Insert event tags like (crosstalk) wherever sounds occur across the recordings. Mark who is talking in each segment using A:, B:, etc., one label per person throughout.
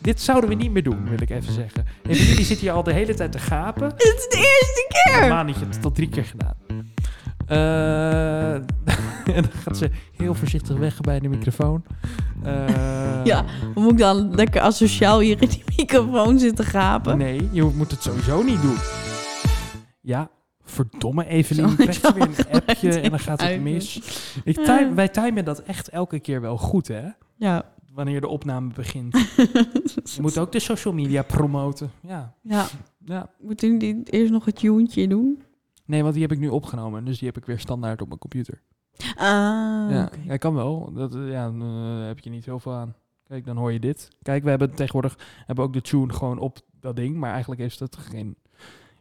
A: Dit zouden we niet meer doen, wil ik even zeggen. En jullie zitten hier al de hele tijd te gapen.
B: Dit is de eerste keer.
A: Normaal niet, je hebt het al drie keer gedaan. Eh, (laughs) en dan gaat ze heel voorzichtig weg bij de microfoon. Eh,
B: Ja, Moet ik dan lekker asociaal hier in die microfoon zitten gapen?
A: Nee, je moet het sowieso niet doen. Ja, verdomme Evelien.
B: Zo,
A: Je krijgt
B: zo
A: ze weer
B: (laughs)
A: een appje
B: gelijk
A: en dan gaat het
B: uit. Eh.
A: mis. Ik time, wij timen dat echt elke keer wel goed, hè?
B: Ja.
A: Wanneer de opname
B: (laughs)
A: begint. Je moet ook de social media promoten. Ja,
B: ja.
A: ja.
B: Moet ik die eerst nog het tuentje doen?
A: Nee, want die heb ik nu opgenomen. Dus die heb ik weer standaard op mijn computer.
B: Ah,
A: ja,
B: oké.
A: ja, kan wel. Dat, eh, ja, dan eh, heb je niet heel veel aan. Kijk, dan hoor je dit. Kijk, we hebben tegenwoordig hebben ook de tune gewoon op dat ding. Maar eigenlijk is dat geen.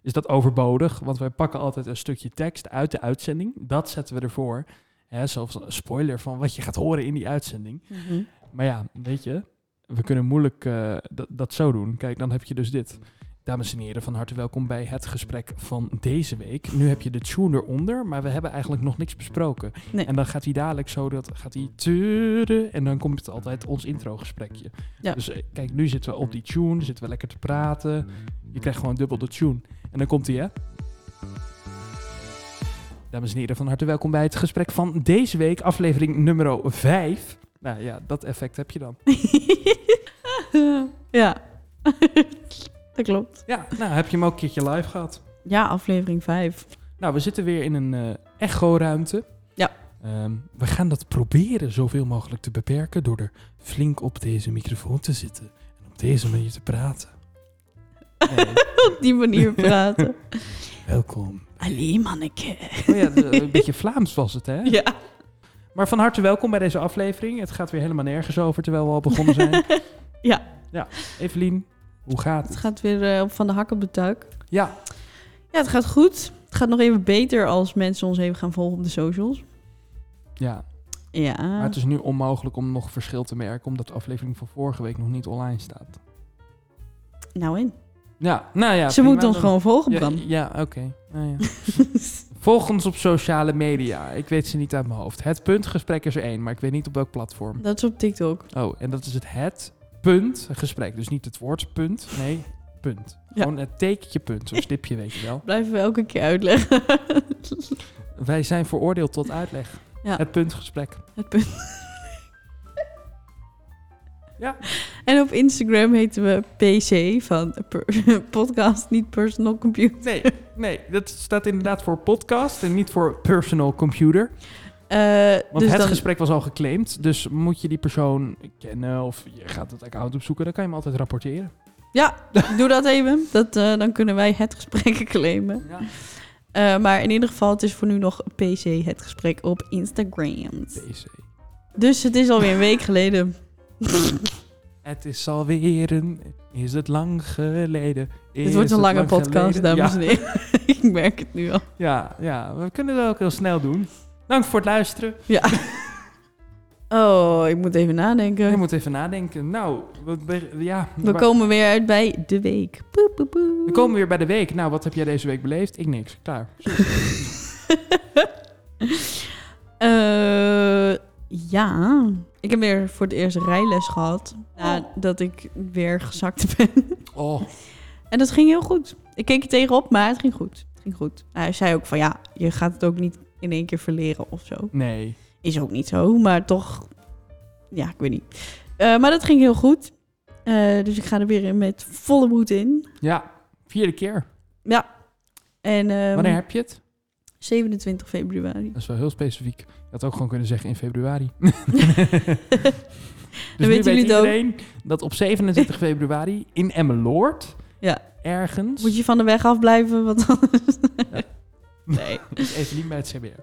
A: Is dat overbodig? Want wij pakken altijd een stukje tekst uit de uitzending. Dat zetten we ervoor. Hè, zelfs een spoiler van wat je gaat horen in die uitzending.
B: Mhm.
A: Maar ja, weet je, we kunnen moeilijk eh, dat- dat zo doen. Kijk, dan heb je dus dit. Dames en heren, van harte welkom bij het gesprek van deze week. Nu heb je de tune eronder, maar we hebben eigenlijk nog niks besproken.
B: Nee.
A: En dan gaat hij dadelijk zo, dat gaat hij... tudu, En dan komt het altijd ons introgesprekje.
B: Ja.
A: Dus eh, kijk, nu zitten we op die tune, zitten we lekker te praten. Je krijgt gewoon dubbel de tune. En dan komt hij, hè? Dames en heren, van harte welkom bij het gesprek van deze week, aflevering nummer 5. Nou ja, dat effect heb je dan.
B: (laughs) ja. dat klopt.
A: Ja, nou heb je hem ook een keertje live gehad.
B: Ja, aflevering 5.
A: Nou, we zitten weer in een eh, echo-ruimte.
B: Ja.
A: Ehm, we gaan dat proberen zoveel mogelijk te beperken door er flink op deze microfoon te zitten. En op deze manier te
B: (laughs)
A: praten. Nee,
B: (laughs) Op die
A: (laughs)
B: manier praten.
A: welkom.
B: Allee, manneke.
A: Oh ja, d- een beetje Vlaams was het, hè?
B: Ja.
A: Maar van harte welkom bij deze aflevering. Het gaat weer helemaal nergens over terwijl we al begonnen zijn.
B: (laughs) Ja.
A: Ja, Evelien, hoe gaat
B: Het
A: het?
B: gaat weer eh, op van de hak op de tuik.
A: Ja,
B: Ja, het gaat goed. Het gaat nog even beter als mensen ons even gaan volgen op de socials.
A: ja.
B: Ja.
A: Maar het is nu onmogelijk om nog verschil te merken, omdat de aflevering van vorige week nog niet online staat.
B: Nou in.
A: Ja, nou ja.
B: Ze
A: prima,
B: moeten ons
A: dan-
B: gewoon volgen, Bram.
A: Ja, ja oké. Nou ja. (laughs) Volg ons op sociale media. Ik weet ze niet uit mijn hoofd. Het puntgesprek is er één, maar ik weet niet op welk platform.
B: (laughs) Dat is op TikTok.
A: Oh, en dat is het het punt gesprek. Dus niet het woord punt, nee, punt.
B: Ja.
A: Gewoon het tekentje punt,
B: (laughs)
A: zo'n stipje weet je wel.
B: Blijven we elke keer uitleggen. (laughs)
A: Wij zijn veroordeeld tot uitleg.
B: Ja.
A: Het puntgesprek.
B: het punt.
A: Ja.
B: En op Instagram heten we PC van per- (laughs) podcast, niet personal computer.
A: Nee, nee, dat staat inderdaad voor podcast en niet voor personal computer.
B: Eh,
A: Want
B: dus
A: het
B: dan,
A: gesprek was al geclaimd, dus moet je die persoon kennen of je gaat het account opzoeken, dan kan je hem altijd rapporteren.
B: Ja, doe dat even. Dat, eh, dan kunnen wij het gesprek (laughs) claimen.
A: Ja.
B: Eh, maar in ieder geval, het is voor nu nog PC het gesprek op Instagram.
A: PC.
B: Dus het is alweer een week
A: (laughs)
B: geleden.
A: Het is alweer een... Is het lang geleden?
B: Dit wordt een lange podcast, dames
A: en
B: en heren. (laughs) Ik merk het nu al.
A: Ja, ja, we kunnen dat ook heel snel doen. Dank voor het luisteren.
B: Ja. (laughs) Oh, ik moet even nadenken.
A: Je moet even nadenken. Nou, we, we- ja,
B: We
A: waar-
B: komen weer uit bij de week. Boep, boep, boep.
A: we komen weer bij de week. Nou, wat heb jij deze week beleefd? Ik niks. Klaar.
B: Eh, ja, ik heb weer voor het eerst rijles gehad. Nadat ik weer gezakt (laughs) ben.
A: Oh,
B: En dat ging heel goed. Ik keek er tegenop, maar het ging goed. Het ging goed. Hij zei ook van ja, je gaat het ook niet in één keer verleren of zo.
A: nee.
B: Is ook niet zo, maar toch. Ja, ik weet niet. Eh, maar dat ging heel goed. Eh, dus ik ga er weer met volle moed in.
A: Ja, vierde keer.
B: Ehm, En, ehm,
A: Wanneer heb je het?
B: 27 februari.
A: Dat is wel heel specifiek. Je had ook gewoon kunnen zeggen in
B: (laughs)
A: februari. (laughs) dus
B: Dan
A: nu
B: weten
A: weet
B: jullie het ook.
A: iedereen dat op
B: (laughs)
A: 27 februari in Emmeloord...
B: Ja.
A: Ergens...
B: Moet je van de weg afblijven? Want anders. (laughs) nee.
A: Even niet bij het CBR.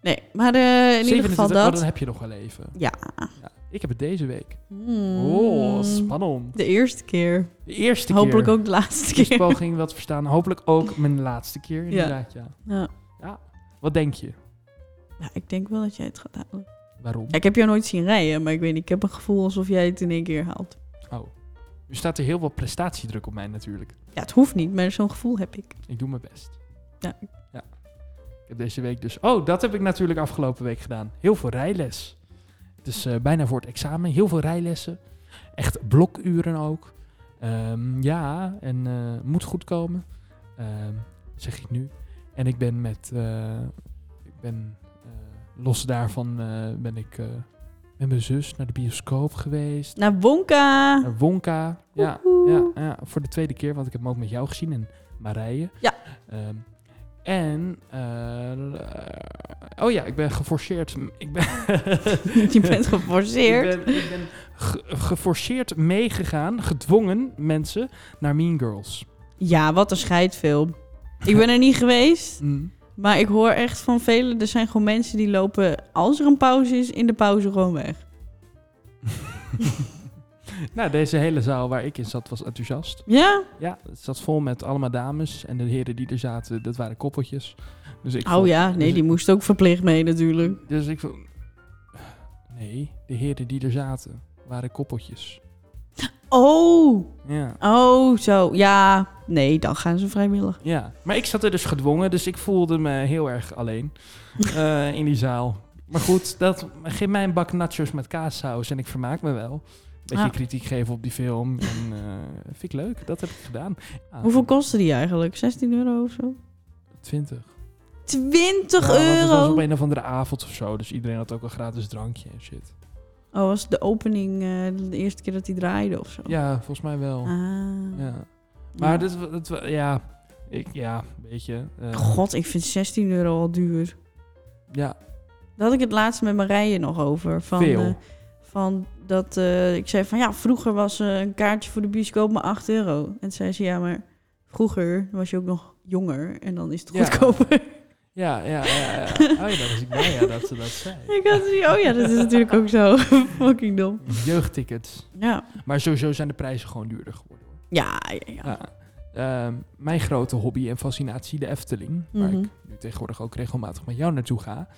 B: nee, maar eh, in ieder
A: 27,
B: geval
A: oh,
B: dat.
A: dan heb je nog wel even.
B: Ja.
A: Ja, ik heb het deze week.
B: Hmm.
A: Oh, spannend.
B: De eerste keer.
A: De eerste
B: Hopelijk
A: keer.
B: ook de laatste
A: Dus
B: keer.
A: poging wat verstaan. Hopelijk ook mijn laatste keer, inderdaad, ja.
B: Ja.
A: Wat denk je?
B: (laughs) Ja, ik denk wel dat jij het gaat halen.
A: Waarom?
B: Ja, ik heb jou nooit zien rijden, maar ik weet niet. Ik heb een gevoel alsof jij het in één keer haalt.
A: Oh. Nu staat er heel veel prestatiedruk op mij natuurlijk.
B: Ja, het hoeft niet, maar zo'n gevoel heb ik.
A: Ik doe mijn best.
B: Ja.
A: ja. Ik heb deze week dus... Oh, dat heb ik natuurlijk afgelopen week gedaan. Heel veel rijles. Het is eh, bijna voor het examen. Heel veel rijlessen. Echt blokuren ook. Ehm, ja, en eh, moet goed komen. Ehm, zeg ik nu. En ik ben met... eh, ik ben... eh, los daarvan eh, ben ik eh, met mijn zus naar de bioscoop geweest. (laughs)
B: Naar Wonka. (laughs)
A: Naar Eh, Wonka. Ja,
B: Woehoe.
A: ja, ja, voor de tweede keer, want ik heb hem ook met jou gezien en Marije.
B: Ja.
A: Ehm, en, eh, oh ja, ik ben geforceerd. Ik ben,
B: (laughs) Je
A: (laughs)
B: bent geforceerd.
A: ik ben, ik ben ge- geforceerd meegegaan, gedwongen mensen, naar Mean Girls.
B: Ja, wat een scheidfilm. Ik ben er niet geweest,
A: Mm.
B: maar ik hoor echt van velen... er zijn gewoon mensen die lopen, als er een pauze is, in de pauze gewoon weg.
A: Nou, deze hele zaal waar ik in zat was enthousiast.
B: Ja?
A: Ja, het zat vol met allemaal dames en de heren die er zaten, dat waren koppeltjes. Dus ik
B: oh
A: vond-
B: ja, nee,
A: dus-
B: die moest ook verplicht mee natuurlijk.
A: Dus ik vond... Nee, de heren die er zaten waren koppeltjes.
B: Oh,
A: Ja.
B: oh, zo. Ja, nee, dan gaan ze vrijwillig.
A: ja. Maar ik zat er dus gedwongen, dus ik voelde me heel erg
B: (laughs)
A: alleen eh, in die zaal. Maar goed, dat, geef mij een bak nachos met kaassaus en ik vermaak me wel. Beetje
B: Ah.
A: kritiek geven op die film. En, eh, vind ik leuk, dat heb ik gedaan. Ah,
B: Hoeveel kostte die eigenlijk? 16 euro of zo?
A: 20.
B: 20
A: Ja, want Het was
B: euro?
A: op een of andere avond of zo, dus iedereen had ook een gratis drankje en shit.
B: Oh, was de opening eh, de eerste keer dat hij draaide of zo?
A: Ja, volgens mij wel.
B: Oh. Ah.
A: Ja. Maar
B: Ja.
A: dit, wa- dit wa- ja, ik, ja, weet je. eh,
B: God, ik vind 16 euro al duur.
A: Ja,
B: Daar had ik het laatst met Marije nog over. Van,
A: Veel.
B: eh, van dat eh, ik zei van ja, vroeger was eh, een kaartje voor de bioscoop maar 8 euro. En zei ze ja, maar vroeger was je ook nog jonger en dan is het
A: Ja.
B: goedkoper.
A: (laughs) ja, ja, ja.
B: (laughs)
A: ja. Oh ja, daar was ik bij, ja, dat ze dat zei.
B: ik had zoiets, oh ja, dat is natuurlijk ook zo (laughs) fucking dom.
A: Jeugdtickets.
B: Ja,
A: Maar sowieso zijn de prijzen gewoon duurder geworden. hoor.
B: ja, ja. ja.
A: Ja. Ehm, mijn grote hobby en fascinatie, de Efteling, waar
B: Mhm.
A: ik nu tegenwoordig ook regelmatig met jou naartoe ga,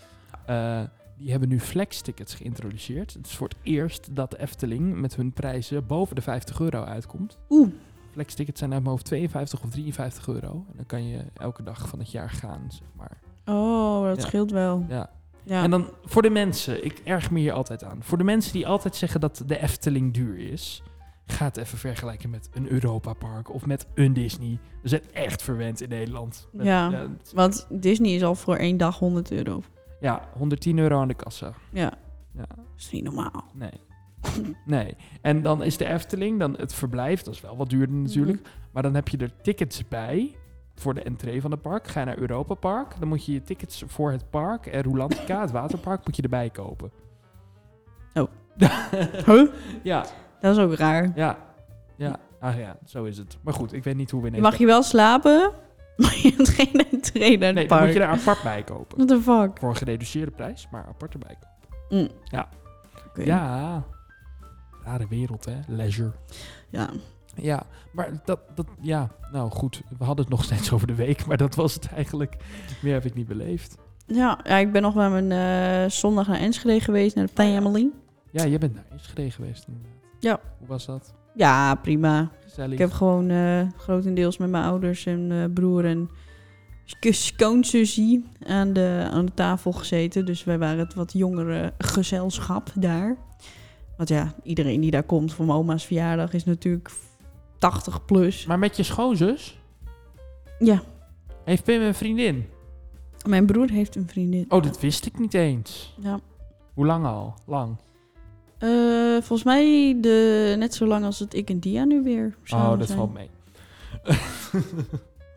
A: eh, die hebben nu flex-tickets geïntroduceerd. Het is voor het eerst dat de Efteling met hun prijzen boven de 50 euro uitkomt.
B: Oeh.
A: Flex-tickets zijn uit mijn hoofd 52 of 53 euro. En dan kan je elke dag van het jaar gaan, zeg maar.
B: Oh, dat
A: Ja.
B: scheelt wel.
A: Ja.
B: Ja.
A: En dan voor de mensen, ik erg me hier altijd aan. Voor de mensen die altijd zeggen dat de Efteling duur is, ga het even vergelijken met een Europa Park of met een Disney. We zijn echt verwend in Nederland. Met- eh,
B: Ja.
A: ja, het-
B: Want Disney is al voor één dag 100 euro.
A: ja, 110 euro aan de kassa.
B: Ja.
A: Ja.
B: Dat is niet normaal. (laughs)
A: Nee. nee. En dan is de Efteling, dan het verblijf, dat is wel wat duurder natuurlijk.
B: Mhm.
A: Maar dan heb je er tickets bij voor de entree van het park. Ga je naar Europa Park, dan moet je je tickets voor het park en Rolantica, het waterpark, moet je erbij kopen.
B: Oh.
A: (laughs) huh? Ja,
B: Dat is ook raar.
A: ja, ja. Ah ja, zo is het. Maar goed, ik weet niet hoe we
B: Je
A: ineens...
B: mag je wel slapen, (laughs) maar je hebt geen entree naar het
A: Nee, dan
B: park.
A: moet je er apart bij kopen.
B: (laughs) What the fuck?
A: Voor een gereduceerde prijs, maar apart erbij kopen.
B: Mm.
A: Ja.
B: Oké.
A: Ja. Rare wereld, hè? Leisure.
B: Ja.
A: Ja, maar dat, dat, ja, nou goed, we hadden het nog steeds over de week, maar dat was het eigenlijk. Meer heb ik niet beleefd.
B: Ja, ja, ik ben nog bij mijn eh, zondag naar Enschede geweest, naar de Family.
A: Oh Ja, jij bent naar Enschede geweest inderdaad.
B: Ja.
A: Hoe was dat?
B: Ja, prima.
A: Gezellig.
B: Ik heb gewoon eh, grotendeels met mijn ouders en eh, broer en sk- schoonzusie aan de, aan de tafel gezeten. Dus wij waren het wat jongere gezelschap daar. Want ja, iedereen die daar komt voor mijn oma's verjaardag is natuurlijk 80 plus.
A: Maar met je schoonzus?
B: Ja.
A: Heeft Pim een vriendin?
B: Mijn broer heeft een vriendin.
A: Oh, dat wist ik niet eens.
B: Ja.
A: Hoe lang al? Lang.
B: Eh, volgens mij de, net zo lang als het ik en Dia nu weer
A: Oh,
B: samen
A: dat
B: zijn.
A: valt mee.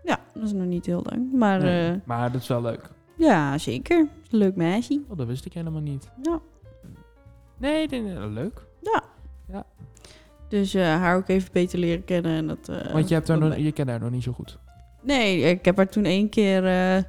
B: Ja, dat is nog niet heel lang. Maar
A: Nee,
B: eh,
A: maar dat is wel leuk.
B: ja, zeker. Leuk meisje.
A: Oh, dat wist ik helemaal niet.
B: Ja.
A: Nee, nee, nee, leuk.
B: Dus eh, haar ook even beter leren kennen. En dat, eh,
A: Want je, hebt haar
B: dat
A: nog,
B: ben-
A: je kent haar nog niet zo goed.
B: Nee, ik heb haar toen één keer eh,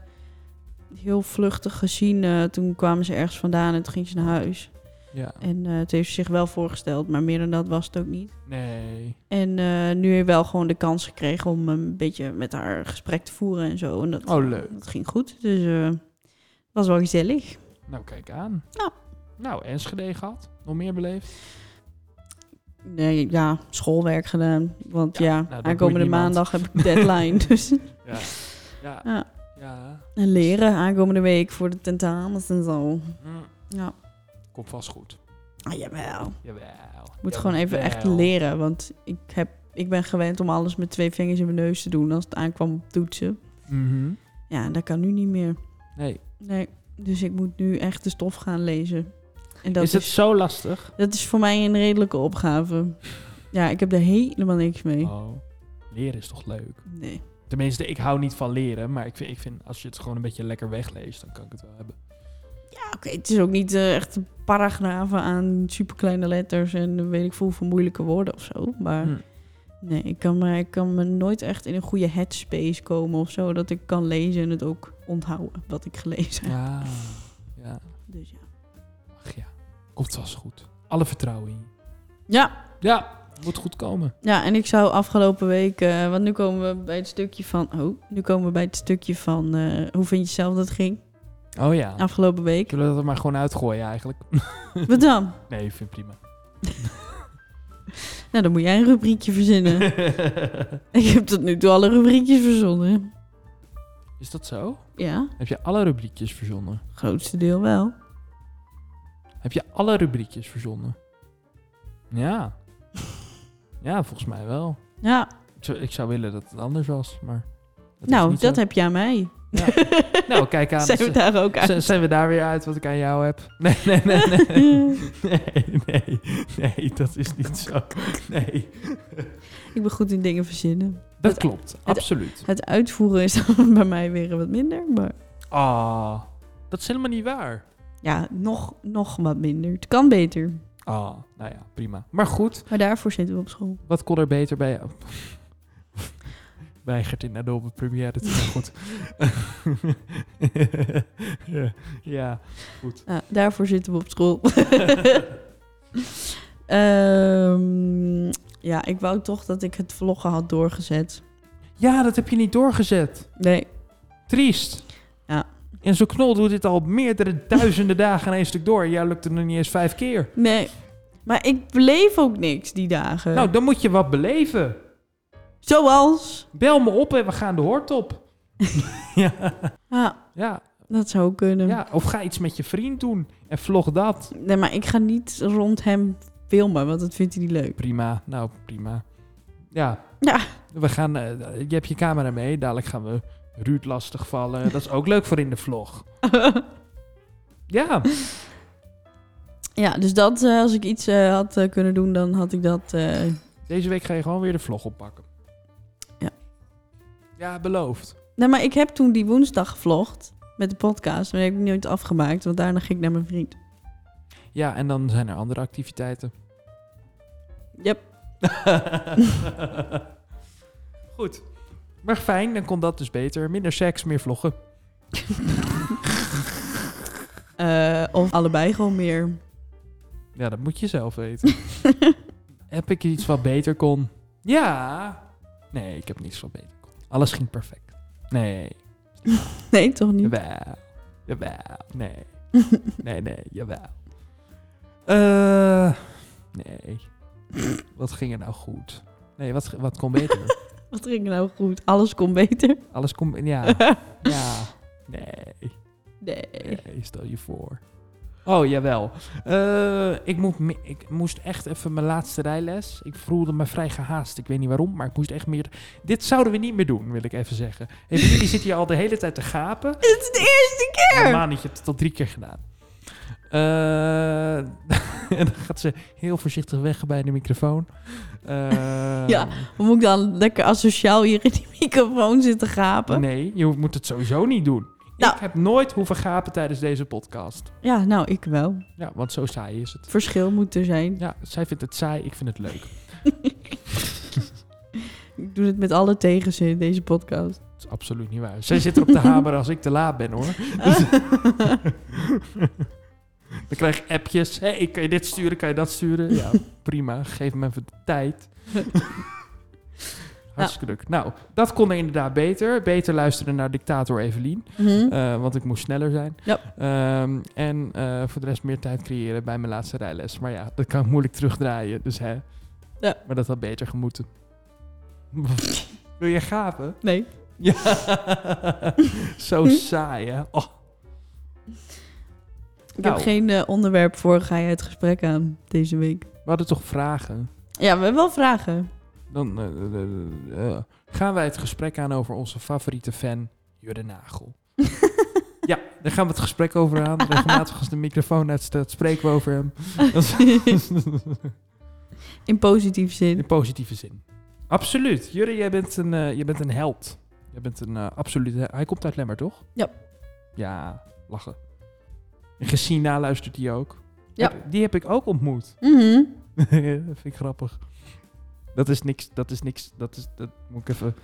B: heel vluchtig gezien. Eh, toen kwamen ze ergens vandaan en toen ging ze naar huis.
A: Ja.
B: En eh het heeft ze zich wel voorgesteld, maar meer dan dat was het ook niet.
A: Nee.
B: En eh, nu heeft wel gewoon de kans gekregen om een beetje met haar gesprek te voeren en zo. En dat,
A: Oh, leuk.
B: dat ging goed. Dus eh was wel gezellig.
A: Nou, kijk aan.
B: Ja.
A: Nou, Enschede gehad. Nog meer beleefd?
B: Nee, ja, schoolwerk gedaan. Want
A: Ja,
B: ja,
A: nou, dat
B: aankomende
A: boeit niemand.
B: maandag heb ik
A: (laughs)
B: deadline. dus
A: Ja. Ja.
B: Ja.
A: ja.
B: en leren aankomende week voor de tentamens en zo.
A: Mm.
B: Ja.
A: Komt vast goed.
B: Ah, jawel.
A: Jawel.
B: Ik moet gewoon even echt leren, want ik, heb, ik ben gewend om alles met twee vingers in mijn neus te doen als het aankwam op toetsen.
A: Mhm.
B: Ja, dat kan nu niet meer.
A: Nee.
B: Nee, dus ik moet nu echt de stof gaan lezen. En dat
A: is
B: is,
A: het zo lastig?
B: dat is voor mij een redelijke opgave. Ja, ik heb er helemaal niks mee.
A: Oh. Leren is toch leuk?
B: Nee.
A: Tenminste, ik hou niet van leren, maar ik vind, ik vind als je het gewoon een beetje lekker wegleest, dan kan ik het wel hebben.
B: Ja, oké, het is ook niet eh, echt paragrafen aan superkleine letters en eh, weet ik veel van moeilijke woorden of zo. Maar
A: Hm.
B: nee, ik kan, me, ik kan me nooit echt in een goede headspace komen of zo. Dat ik kan lezen en het ook onthouden wat ik gelezen heb.
A: Ja. Ah. ja.
B: Dus ja.
A: Ach ja. Komt vast goed. Alle vertrouwen in je.
B: ja,
A: Ja, moet goed komen.
B: Ja, en ik zou afgelopen week, eh, want nu komen we bij het stukje van, oh, nu komen we bij het stukje van, eh, hoe vind je zelf dat het ging?
A: Oh ja.
B: Afgelopen week.
A: Kunnen we dat er maar gewoon uitgooien eigenlijk?
B: Wat dan?
A: Nee, ik vind het prima.
B: Nou, dan moet jij een rubriekje
A: (laughs)
B: verzinnen. ik heb tot nu toe alle rubriekjes verzonnen.
A: is dat zo?
B: Ja,
A: Heb je alle rubriekjes verzonnen?
B: grootste deel wel.
A: Heb je alle rubriekjes verzonnen? Ja.
B: (laughs)
A: Ja, volgens mij wel.
B: Ja,
A: Ik zou, ik zou willen dat het anders was, maar... is
B: nou,
A: niet
B: dat
A: zo.
B: heb je aan mij.
A: Ja.
B: (laughs)
A: Nou, kijk aan.
B: dus, eh, Zijn we daar ook
A: Z-
B: uit?
A: Zijn we daar weer uit wat ik aan jou heb? (laughs) Nee, nee, nee,
B: (laughs)
A: nee. Nee, nee, nee, dat is niet zo. Nee.
B: Ik ben goed in dingen verzinnen.
A: Dat klopt, absoluut.
B: Het uitvoeren is (laughs) dan bij mij weer wat minder, maar
A: Ah, dat is helemaal niet waar.
B: ja, nog, nog wat minder. Het kan beter,
A: Ah, nou ja, prima. Maar goed,
B: maar daarvoor zitten we op school.
A: wat kon er beter bij jou? (laughs) Weigert in Adobe Premiere te zijn, goed. (laughs) ja, goed.
B: Ja, daarvoor zitten we op school. (laughs) Ehm, ja, ik wou toch dat ik het vloggen had doorgezet.
A: Ja, dat heb je niet doorgezet.
B: Nee,
A: Triest.
B: Ja.
A: En zo'n knol doet dit al meerdere duizenden dagen in één stuk door. Jij lukt het nog niet eens vijf keer.
B: nee. Maar ik beleef ook niks die dagen.
A: Nou, dan moet je wat beleven.
B: Zoals.
A: Bel me op en we gaan de hort op. ja.
B: Ja,
A: Ja,
B: dat zou kunnen.
A: ja, of ga iets met je vriend doen en vlog dat.
B: Nee, maar ik ga niet rond hem filmen, want dat vindt hij niet leuk. (laughs)
A: Prima, nou prima. Ja.
B: Ja.
A: We gaan, eh, je hebt je camera mee, dadelijk gaan we Ruud
B: (laughs)
A: lastigvallen. Dat is ook leuk voor in de vlog. Ja,
B: ja, dus dat, eh, als ik iets eh, had eh, kunnen doen, dan had ik dat... eh,
A: deze week ga je gewoon weer de vlog oppakken.
B: Ja.
A: Ja, beloofd.
B: Nee, maar ik heb toen die woensdag gevlogd met de podcast. Maar die heb ik nooit afgemaakt, want daarna ging ik naar mijn vriend.
A: Ja, en dan zijn er andere activiteiten.
B: Yep.
A: Goed. Maar fijn, dan kon dat dus beter. Minder seks, meer vloggen.
B: Eh, of allebei gewoon meer. (laughs)
A: Ja, dat moet je zelf weten. heb ik iets wat beter kon? Ja. Nee, ik heb niets wat beter kon. Alles ging perfect. Nee.
B: Nee, toch niet?
A: Jawel. Jawel. Nee. Nee, nee. Jawel. Eh, nee. Wat ging er nou goed? Nee, wat, wat kon beter?
B: (laughs) Wat ging er nou goed? Alles kon beter.
A: Alles kon... Ja. Ja. Nee.
B: Nee.
A: Nee, stel je voor. Oh, jawel. Eh, ik, moet me- ik moest echt even mijn laatste rijles. Ik voelde me vrij gehaast. Ik weet niet waarom, maar ik moest echt meer... Dit zouden we niet meer doen, wil ik even zeggen. Hey, jullie zitten hier al de hele tijd te gapen.
B: (laughs) Dit is de eerste keer!
A: Normaal niet, je hebt het al drie keer gedaan. Eh, (laughs) en dan gaat ze heel voorzichtig weg bij de microfoon. Eh,
B: Ja, Dan moet ik dan lekker asociaal hier in die microfoon zitten gapen.
A: Nee, je moet het sowieso niet doen.
B: Nou.
A: Ik heb nooit hoeven gapen tijdens deze podcast.
B: Ja, nou, ik wel.
A: Ja, want zo saai is het.
B: Verschil moet er zijn.
A: Ja, zij vindt het saai, ik vind het leuk.
B: Ik doe het met alle tegenzin in deze podcast.
A: Dat is absoluut niet waar. Zij zit erop te hameren als ik te laat ben, hoor.
B: Ah.
A: Dus- (laughs) Dan krijg ik appjes. Hé, hey, kan je dit sturen, kan je dat sturen? Ja, prima. Geef me even de
B: (laughs)
A: tijd. Hartstikke druk. Nou, dat kon er inderdaad beter. Beter luisteren naar dictator Evelien.
B: Hm?
A: eh, want ik moest sneller zijn.
B: Ja.
A: Ehm, en eh, voor de rest meer tijd creëren bij mijn laatste rijles. Maar ja, dat kan ik moeilijk terugdraaien. Dus hè.
B: Ja.
A: Maar dat had beter gemoeten. (laughs) Wil je gapen?
B: Nee.
A: Ja.
B: (laughs)
A: Zo saai, hè? Oh.
B: Ik
A: Nou.
B: heb geen eh, onderwerp voor ga je het gesprek aan deze week.
A: We hadden toch vragen?
B: Ja, we hebben wel vragen.
A: Dan eh, eh, eh, eh, gaan wij het gesprek aan over onze favoriete fan, Jurre Nagel. ja, daar gaan we het gesprek over aan. Regelmatig als de microfoon uitstaat, spreken we over hem. Dat is-
B: (laughs) In positieve zin.
A: In positieve zin. Absoluut. Jurre, jij bent een, eh, jij bent een held. Jij bent een eh absolute... Hij komt uit Lemmer, toch?
B: Ja.
A: Ja, lachen. En Gesina luistert die ook.
B: Ja.
A: Heb- Die heb ik ook ontmoet.
B: Mhm.
A: (laughs) dat vind ik grappig. Dat is niks, dat is niks, dat is, dat moet ik even...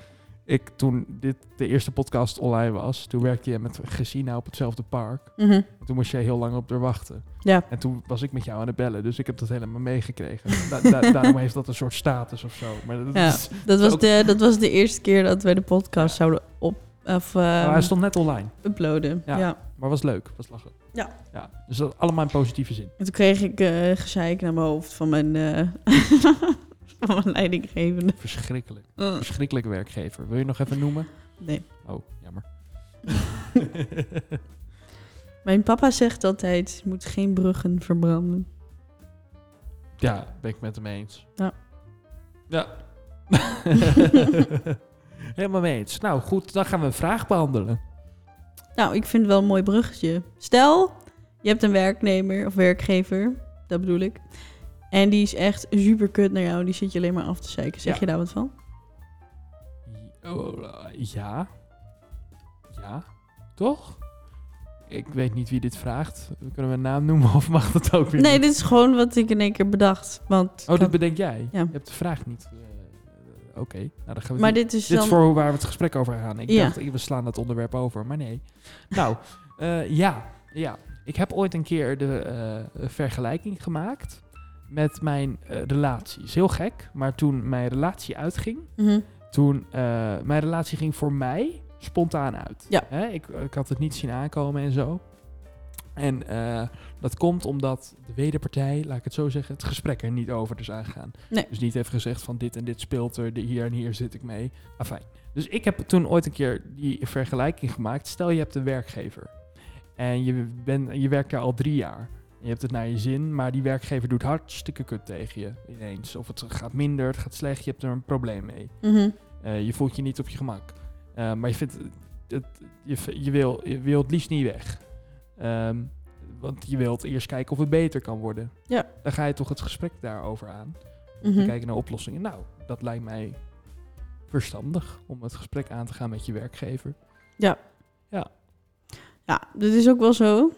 A: Ik, toen dit de eerste podcast online was, toen werkte jij met Gesina op hetzelfde park.
B: Mhm.
A: En toen moest jij heel lang op haar wachten.
B: Ja.
A: En toen was ik met jou aan het bellen, dus ik heb dat helemaal meegekregen. (laughs) Da- da- daarom heeft dat een soort status of zo. Maar dat
B: Ja.
A: is-
B: Dat was,
A: Ook-
B: de, dat was de eerste keer dat we de podcast zouden op, of,
A: Nou,
B: ehm,
A: hij stond net online,
B: uploaden.
A: Ja.
B: Ja.
A: maar was leuk, was lachen.
B: Ja.
A: ja. Dus dat allemaal in positieve zin.
B: En toen kreeg ik eh gezeik naar mijn hoofd van mijn, eh, (laughs) van mijn leidinggevende.
A: Verschrikkelijk.
B: Eh,
A: Verschrikkelijk werkgever. Wil je nog even noemen?
B: Nee.
A: Oh, jammer.
B: Mijn papa zegt altijd, je moet geen bruggen verbranden.
A: ja, ben ik met hem eens.
B: Ja.
A: Ja. (laughs) helemaal mee eens. Nou goed, dan gaan we een vraag behandelen.
B: Nou, ik vind het wel een mooi bruggetje. Stel, je hebt een werknemer of werkgever, dat bedoel ik. En die is echt super kut naar jou, die zit je alleen maar af te zeiken. Zeg
A: Ja.
B: je daar wat van?
A: Oh, eh, Ja. Ja. Toch? Ik weet niet wie dit vraagt. Kunnen we een naam noemen of mag dat ook weer
B: Nee,
A: niet?
B: dit is gewoon wat ik in één keer bedacht. Want
A: Oh,
B: dat-
A: dat bedenk jij?
B: Ja.
A: Je hebt de vraag niet. eh, Oké, nou dan gaan we
B: maar
A: dit,
B: dit is
A: dit is
B: dan...
A: voor hoe waar we het gesprek over gaan. Ik
B: Ja.
A: dacht, eh, we slaan dat onderwerp over, maar nee.
B: (laughs)
A: Nou, eh, ja, ja. Ik heb ooit een keer de eh, vergelijking gemaakt met mijn eh, relatie. Is heel gek, maar toen mijn relatie uitging,
B: Mhm.
A: toen eh, mijn relatie ging voor mij spontaan uit.
B: Ja.
A: Hè, ik, ik had het niet zien aankomen en zo. En eh, dat komt omdat de wederpartij, laat ik het zo zeggen, het gesprek er niet over is aangegaan.
B: Nee.
A: Dus niet heeft gezegd van dit en dit speelt er, de- hier en hier zit ik mee. Afijn. Dus ik heb toen ooit een keer die vergelijking gemaakt. Stel je hebt een werkgever en je, bent je werkt daar al drie jaar. En je hebt het naar je zin, maar die werkgever doet hartstikke kut tegen je ineens. Of het gaat minder, het gaat slecht, je hebt er een probleem mee.
B: Mhm.
A: Eh, je voelt je niet op je gemak. Eh, maar je, vindt, het- het- je, v- je, wil, je wil het liefst niet weg. Ehm, want je wilt eerst kijken of het beter kan worden.
B: Ja.
A: Dan ga je toch het gesprek daarover aan. Om
B: Mhm.
A: te kijken naar oplossingen. Nou, dat lijkt mij verstandig om het gesprek aan te gaan met je werkgever.
B: Ja, dat is ook wel zo.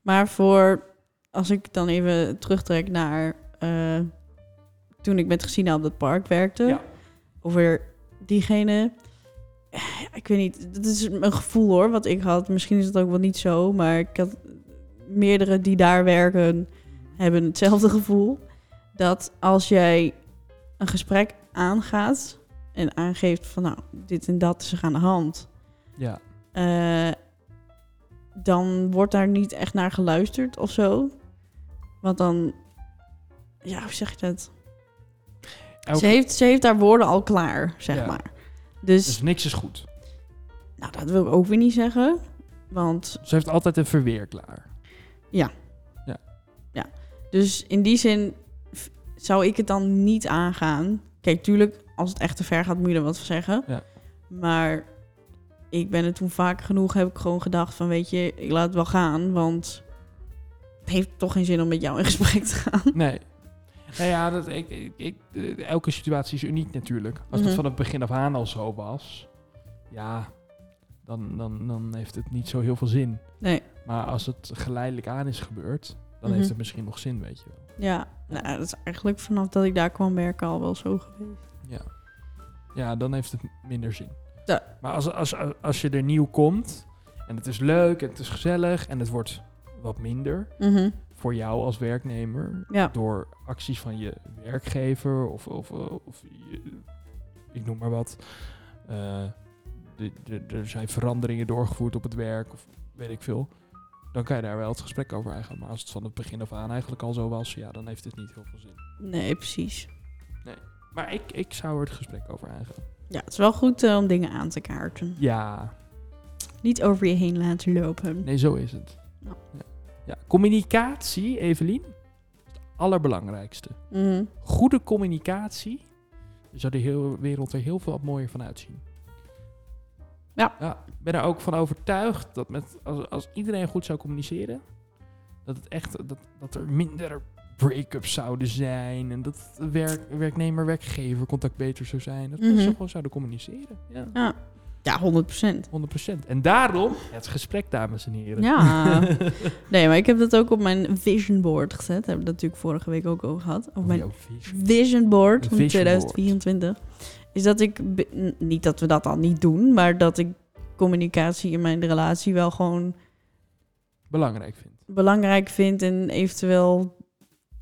B: Maar voor, als ik dan even terugtrek naar eh, toen ik met Gesina op dat park werkte.
A: Ja.
B: Over diegene. Ja, Ik weet niet, dat is een gevoel hoor, wat ik had. Misschien is het ook wel niet zo, maar ik had meerdere die daar werken, hebben hetzelfde gevoel. Dat als jij een gesprek aangaat en aangeeft van nou, dit en dat is er aan de hand.
A: Ja,
B: Eh, dan wordt daar niet echt naar geluisterd of zo. Want dan, ja, hoe zeg je dat?
A: Elke-
B: Ze, heeft, ze heeft haar woorden al klaar, zeg
A: Ja.
B: maar. Dus,
A: dus niks is goed.
B: nou, dat wil ik ook weer niet zeggen. Want,
A: Ze heeft altijd een verweer klaar.
B: dus in die zin f- zou ik het dan niet aangaan. Kijk, tuurlijk, als het echt te ver gaat, moet je er wat van zeggen.
A: Ja.
B: Maar ik ben er toen vaak genoeg, heb ik gewoon gedacht van, weet je, ik laat het wel gaan, want... Het heeft toch geen zin om met jou in gesprek te gaan.
A: Nee. Nou ja, dat, ik, ik, ik- eh, elke situatie is uniek natuurlijk. Als dat
B: Mhm.
A: van het begin af aan al zo was, ja, dan, dan, dan heeft het niet zo heel veel zin.
B: Nee.
A: Maar als het geleidelijk aan is gebeurd, dan
B: Mhm.
A: heeft het misschien nog zin, weet je wel.
B: Ja, nou, dat is eigenlijk vanaf dat ik daar kwam werken al wel zo geweest.
A: Ja, ja dan heeft het minder zin.
B: Ja.
A: Maar als, als, als, als je er nieuw komt en het is leuk en het is gezellig en het wordt wat minder
B: Mhm.
A: voor jou als werknemer,
B: Ja.
A: door acties van je werkgever of, of, of je- ik noem maar wat. Eh, de- de- er zijn veranderingen doorgevoerd op het werk of weet ik veel. Dan kan je daar wel het gesprek over aangaan. Maar als het van het begin af aan eigenlijk al zo was, ja, dan heeft het niet heel veel zin.
B: Nee, precies.
A: Maar ik, ik zou er het gesprek over aangaan.
B: Ja, het is wel goed eh, om dingen aan te kaarten.
A: Ja,
B: Niet over je heen laten lopen.
A: nee, zo is het.
B: Ja.
A: Ja. Ja, communicatie, Evelien, is het allerbelangrijkste.
B: Mhm.
A: Goede communicatie zou de hele wereld er heel veel wat mooier van uitzien.
B: Ja.
A: Ik ben er ook van overtuigd dat met, als, als iedereen goed zou communiceren, dat, het echt, dat, dat er minder break-ups zouden zijn en dat werk, werknemer-werkgever contact beter zou zijn. Dat
B: Mhm.
A: mensen gewoon zouden communiceren. Ja.
B: Ja, 100%.
A: 100%. En daarom het gesprek, dames en heren.
B: Ja. nee, maar ik heb dat ook op mijn vision board gezet. Daar hebben we het natuurlijk vorige week ook over gehad. Op mijn
A: Jouw visie.
B: vision board
A: Een
B: van
A: Oh, vision
B: 2024. Is dat ik, be- n- niet dat we dat al niet doen, maar dat ik communicatie in mijn relatie wel gewoon
A: Belangrijk vind.
B: belangrijk vind en eventueel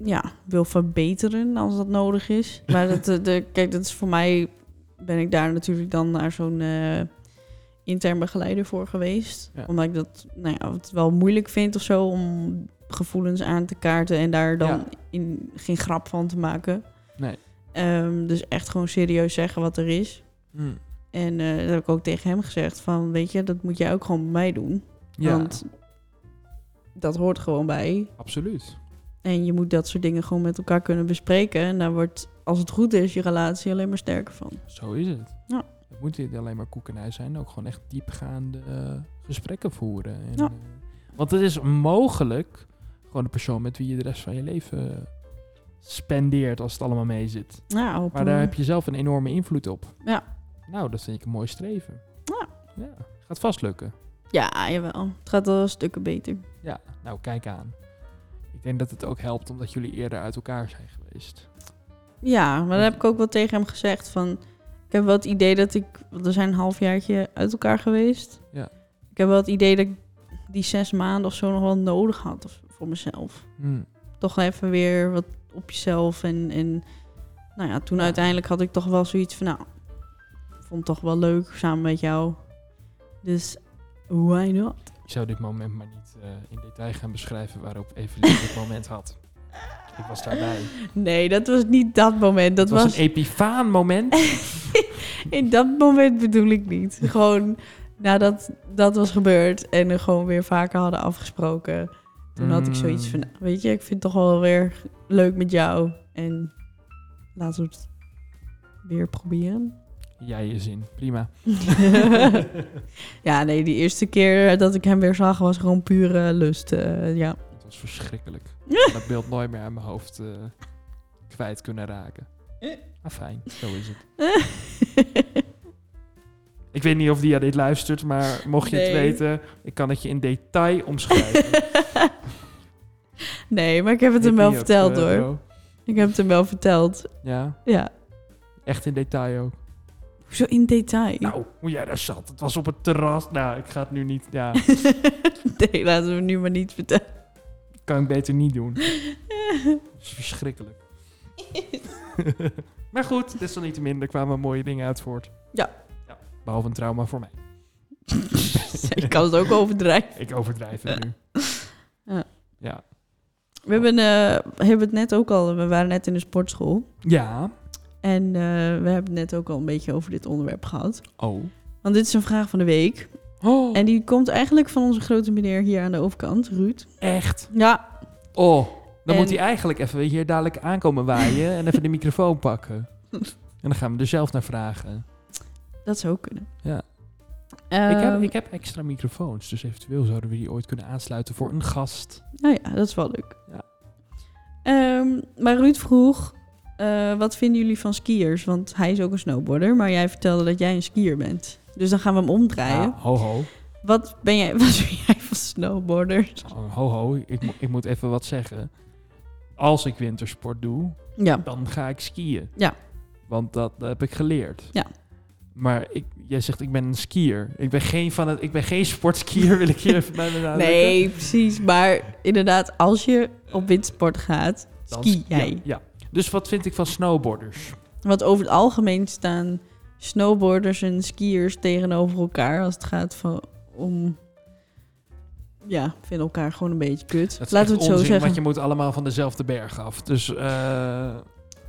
B: ja, wil verbeteren als dat nodig is. Maar dat, eh, de, kijk, dat is voor mij, ben ik daar natuurlijk dan naar zo'n eh, intern begeleider voor geweest.
A: Ja.
B: Omdat ik dat nou ja, het wel moeilijk vind of zo om gevoelens aan te kaarten en daar dan
A: Ja.
B: in, geen grap van te maken.
A: Nee.
B: Ehm, dus echt gewoon serieus zeggen wat er is.
A: Hm.
B: En eh, dat heb ik ook tegen hem gezegd van, weet je, dat moet jij ook gewoon bij mij doen.
A: Ja,
B: Want dat hoort gewoon bij.
A: absoluut.
B: En je moet dat soort dingen gewoon met elkaar kunnen bespreken. En daar wordt, als het goed is, je relatie alleen maar sterker van.
A: Zo is het.
B: Ja.
A: Het moet niet alleen maar koekenij zijn, ook gewoon echt diepgaande eh, gesprekken voeren. En,
B: Ja.
A: eh, want het is mogelijk gewoon de persoon met wie je de rest van je leven eh, spendeert als het allemaal mee zit.
B: Nou, op
A: Maar daar heb je zelf een enorme invloed op.
B: Ja.
A: Nou, dat vind ik een mooi streven.
B: Ja.
A: ja. Gaat vast lukken.
B: Ja, jawel. Het gaat wel stukken beter.
A: Ja, nou kijk aan. Ik denk dat het ook helpt omdat jullie eerder uit elkaar zijn geweest.
B: Ja, maar dat heb ik ook wel tegen hem gezegd. Van, ik heb wel het idee dat ik... Want we zijn een halfjaartje uit elkaar geweest.
A: Ja.
B: Ik heb wel het idee dat ik die zes maanden of zo nog wel nodig had of- voor mezelf.
A: Hm.
B: Toch even weer wat op jezelf. En, en nou ja, toen
A: Ja.
B: uiteindelijk had ik toch wel zoiets van... Nou, ik vond het toch wel leuk samen met jou. Dus why not?
A: Ik zou dit moment maar niet eh, in detail gaan beschrijven waarop Evelien dit (laughs) moment had. Ik was daarbij.
B: Nee, dat was niet dat moment. Dat
A: Het was,
B: was,
A: een epifaan moment.
B: in dat moment bedoel ik niet.
A: (laughs)
B: Gewoon nadat dat was gebeurd en we gewoon weer vaker hadden afgesproken. (laughs) Toen had
A: Mm,
B: ik zoiets van, nou, weet je, ik vind het toch wel weer leuk met jou. En laten we het weer proberen.
A: Jij je zin, prima.
B: (laughs) ja, nee, die eerste keer eh, dat ik hem weer zag was gewoon pure lust. eh, ja.
A: Het was
B: (laughs)
A: verschrikkelijk. Ik heb dat beeld nooit meer aan mijn hoofd eh, kwijt kunnen
B: (laughs)
A: raken. Maar fijn, zo is het.
B: (laughs)
A: Ik weet niet of die aan dit luistert, maar mocht je het
B: Nee.
A: weten, ik kan het je in detail
B: (laughs)
A: omschrijven.
B: nee, maar ik heb het
A: Hit
B: hem wel
A: me up,
B: verteld
A: eh,
B: hoor.
A: bro.
B: Ik heb het hem wel verteld.
A: Ja,
B: Ja.
A: echt in detail ook.
B: Zo in detail.
A: Nou, hoe jij daar zat. Het was op het terras. Nou, ik ga het nu niet. Ja,
B: (laughs) nee, laten we nu maar niet vertellen. (laughs)
A: kan ik beter niet doen. (laughs) Het is
B: (laughs)
A: verschrikkelijk. maar goed, desalniettemin, er kwamen mooie dingen uit voort.
B: Ja.
A: Ja, Behalve een trauma voor mij.
B: Ik kan het ook overdrijven.
A: Ik overdrijf
B: Eh.
A: het nu.
B: Ja.
A: Ja.
B: We hebben, eh, hebben het net ook al, we waren net in de sportschool.
A: Ja.
B: En eh, we hebben het net ook al een beetje over dit onderwerp gehad.
A: Oh.
B: Want dit is een vraag van de week.
A: oh.
B: En die komt eigenlijk van onze grote meneer hier aan de overkant, Ruud.
A: Echt.
B: Ja,
A: Oh. Dan
B: En-
A: moet hij eigenlijk even hier dadelijk aankomen waaien en even de microfoon pakken. En dan gaan we er zelf naar vragen.
B: dat zou ook kunnen.
A: Ja.
B: Ehm,
A: ik, heb, ik heb extra microfoons, dus eventueel zouden we die ooit kunnen aansluiten voor een gast.
B: Nou ja, dat is wel leuk.
A: Ja.
B: Ehm, maar Ruud vroeg, eh, wat vinden jullie van skiers? Want hij is ook een snowboarder, maar jij vertelde dat jij een skier bent. Dus dan gaan we hem omdraaien.
A: Ah, ho ho.
B: Wat ben jij, (laughs) wat vind jij van snowboarders?
A: Oh, ho ho, ik, mo- ik moet even wat zeggen. Als ik wintersport doe,
B: Ja.
A: dan ga ik skiën.
B: Ja.
A: Want dat heb ik geleerd.
B: Ja.
A: Maar ik, jij zegt ik ben een skier. Ik ben geen, van het, ik ben geen sportskier, wil ik je even bij
B: (laughs)
A: benadrukken.
B: Nee, precies. Maar inderdaad, als je op windsport gaat,
A: Dan
B: ski
A: ja,
B: jij.
A: Ja, Dus wat vind ik van snowboarders?
B: Want over het algemeen staan snowboarders en skiers tegenover elkaar als het gaat van, om... Ja, vinden elkaar gewoon een beetje kut.
A: Dat is
B: Laten we
A: echt
B: het zo
A: onzin,
B: zeggen.
A: want je moet allemaal van dezelfde berg af. Dus, eh,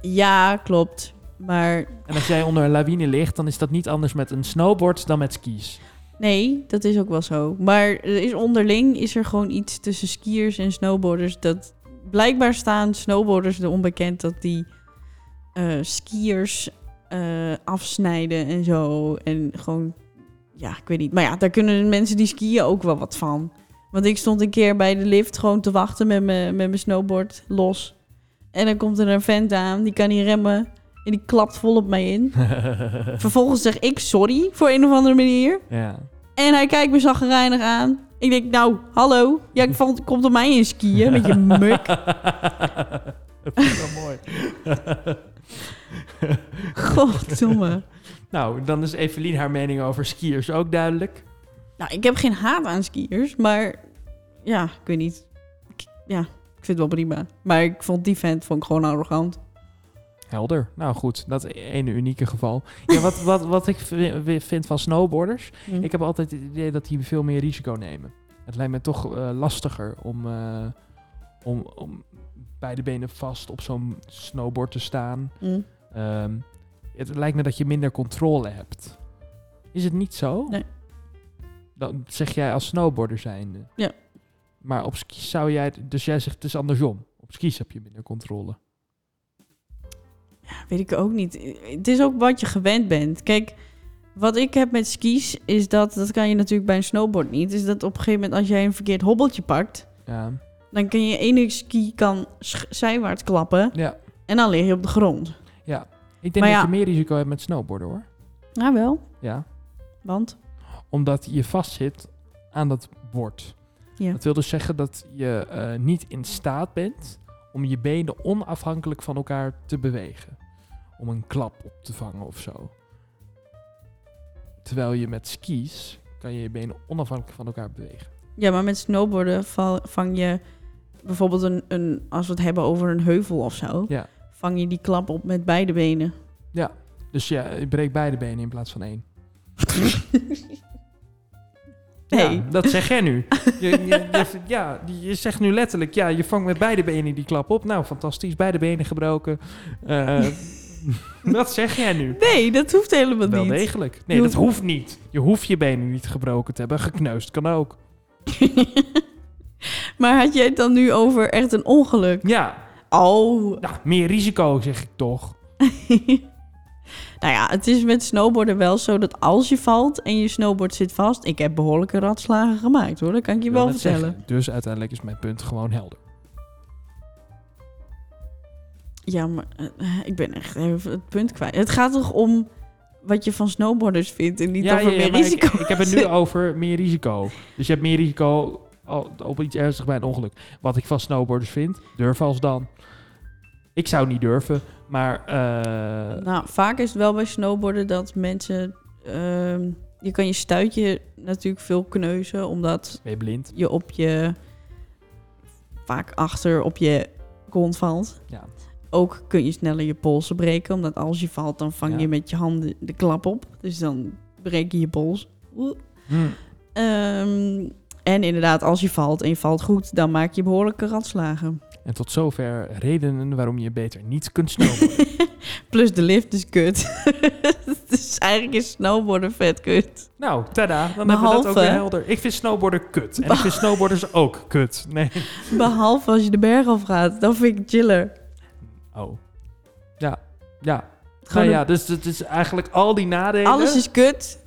B: Ja, klopt. Maar
A: en als jij onder een lawine ligt, dan is dat niet anders met een snowboard dan met skis.
B: Nee, dat is ook wel zo. Maar er is onderling is er gewoon iets tussen skiers en snowboarders. Dat blijkbaar staan snowboarders er onbekend dat die eh, skiers eh, afsnijden en zo. En gewoon, ja, ik weet niet. Maar ja, daar kunnen de mensen die skiën ook wel wat van. Want ik stond een keer bij de lift gewoon te wachten met mijn met mijn snowboard los. En dan komt er een vent aan, die kan niet remmen. En die klapt vol op mij in. Vervolgens zeg ik sorry voor een of andere manier.
A: ja.
B: En hij kijkt me zagrijnig aan. Ik denk, nou, hallo. Ja, ik vond, komt op mij in skiën met je muk.
A: (laughs) Dat vind ik wel mooi.
B: Goddomme.
A: nou, dan is Evelien haar mening over skiers ook duidelijk.
B: Nou, ik heb geen haat aan skiers, maar ja, ik weet niet. Ik- ja, ik vind het wel prima. Maar ik vond die vent vond ik gewoon arrogant.
A: Helder. Nou goed, dat ene unieke geval. Ja, wat, wat, wat ik vi- vind van snowboarders,
B: Hm.
A: Ik heb altijd het idee dat die veel meer risico nemen. Het lijkt me toch eh, lastiger om, eh, om, om beide benen vast op zo'n snowboard te staan.
B: Hm.
A: Ehm, het lijkt me dat je minder controle hebt. Is het niet zo?
B: Nee.
A: Dat zeg jij als snowboarder zijnde.
B: Ja.
A: Maar op skis zou jij... Dus jij zegt het is andersom. Op skis heb je minder controle.
B: Weet ik ook niet. Het is ook wat je gewend bent. Kijk, wat ik heb met skis is dat, dat kan je natuurlijk bij een snowboard niet, is dat op een gegeven moment als jij een verkeerd hobbeltje pakt,
A: Ja.
B: dan kan je ene ski kan sch- zijwaarts klappen
A: ja.
B: en dan lig je op de grond.
A: Ik denk
B: Maar
A: dat
B: ja.
A: je meer risico hebt met snowboarden hoor.
B: Ja, wel.
A: Ja.
B: Want?
A: Omdat je vastzit aan dat bord.
B: Ja.
A: Dat wil dus zeggen dat je eh, niet in staat bent om je benen onafhankelijk van elkaar te bewegen. Om een klap op te vangen of zo. Terwijl je met skis kan je je benen onafhankelijk van elkaar bewegen.
B: Ja, maar met snowboarden val- vang je bijvoorbeeld een, een, als we het hebben over een heuvel of zo,
A: Ja.
B: vang je die klap op met beide benen.
A: Dus ja, je breekt beide benen in plaats van
B: (laughs)
A: één.
B: Nee.
A: Ja, dat zeg jij nu. Je, je, je- ja, je zegt nu letterlijk, ja, je vangt met beide benen die klap op. Nou, fantastisch, beide benen gebroken. Eh, (laughs) dat zeg jij nu.
B: Nee, dat hoeft helemaal
A: Wel
B: niet.
A: degelijk. Nee,
B: Je
A: dat
B: hoeft-
A: hoeft niet. Je hoeft je benen niet gebroken te hebben. Gekneusd kan ook.
B: maar had jij het dan nu over echt een ongeluk?
A: Ja,
B: Oh,
A: nou, meer risico zeg ik toch.
B: nou ja, het is met snowboarden wel zo dat als je valt en je snowboard zit vast... Ik heb behoorlijke ratslagen gemaakt hoor, dat kan ik je
A: Ik
B: wel
A: wil net
B: vertellen.
A: zeggen, Dus uiteindelijk is mijn punt gewoon helder.
B: Ja, maar eh, ik ben echt even het punt kwijt. Het gaat toch om wat je van snowboarders vindt en niet over meer
A: maar ik-
B: risico.
A: Ik, heb het
B: (laughs)
A: nu over meer risico. Dus je hebt meer risico al- op iets ernstigs bij een ongeluk. Wat ik van snowboarders vind, durf als dan. Ik zou niet durven, maar... eh,
B: Nou, vaak is het wel bij snowboarden dat mensen... ehm, je kan je stuitje natuurlijk veel kneuzen, omdat
A: ben je blind?
B: je op je... vaak achter op je kont valt.
A: Ja.
B: Ook kun je sneller je polsen breken, omdat als je valt, dan vang
A: Ja.
B: je met je handen de klap op. Dus dan breek je je pols. Oeh.
A: Hm.
B: Ehm, en inderdaad, als je valt en je valt goed, dan maak je behoorlijke ratslagen.
A: En tot zover redenen waarom je beter niet kunt snowboarden.
B: (laughs) Plus de lift is kut. (laughs) dus eigenlijk is snowboarden vet kut.
A: Nou, tada. Dan hebben we dat
B: Behalve-
A: ook weer helder. Ik vind snowboarden kut. En ik vind snowboarders ook kut.
B: (laughs)
A: Nee.
B: Behalve als je de berg af gaat, dan vind ik het chiller.
A: Oh. Ja. Ja.
B: Gewoon
A: nou ja, dus het is eigenlijk al die
B: een-
A: nadelen.
B: alles is kut,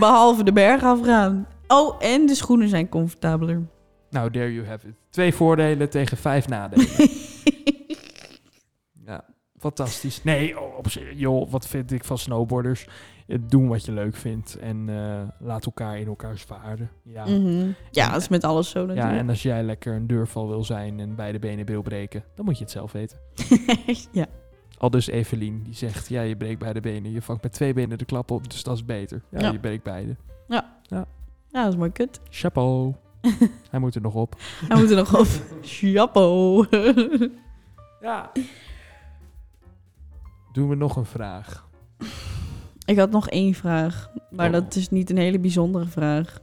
B: behalve de berg afgaan. Oh, en de schoenen zijn comfortabeler.
A: Nou, there you have it. Twee voordelen tegen vijf nadelen. ja. Fantastisch. Nee, oh, op zich, joh, wat vind ik van snowboarders? Eh, Doen wat je leuk vindt en eh, laat elkaar in elkaars waarden. Ja.
B: Mhm. Ja, dat is met alles zo
A: ja,
B: natuurlijk.
A: en als jij lekker een deurval wil zijn en beide benen wil breken, dan moet je het zelf weten.
B: (laughs) ja.
A: Al dus Evelien, die zegt, ja, je breekt beide benen. Je vangt met twee benen de klap op, dus dat is beter. Ja,
B: Ja.
A: je breekt beide.
B: ja, dat is mooi kut. (laughs)
A: Chapeau. Hij moet er nog op.
B: Hij moet er nog op. Chapeau. (laughs)
A: Ja. Doen we nog een vraag.
B: Ik had nog één vraag, maar
A: Oh.
B: dat is niet een hele bijzondere vraag.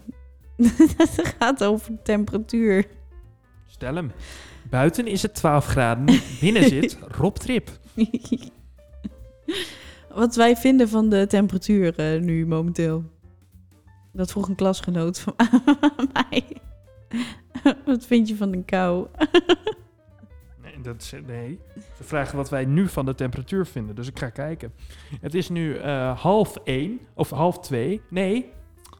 B: (laughs) Het gaat over temperatuur.
A: Stel hem. Buiten is het 12 graden. Binnen zit Rob Trip.
B: Wat wij vinden van de temperatuur eh, nu momenteel. Dat vroeg een klasgenoot van (laughs) mij. Wat vind je van de kou?
A: Nee, dat is, nee, ze vragen wat wij nu van de temperatuur vinden. Dus ik ga kijken. Het is nu eh, half één, of half twee. Nee,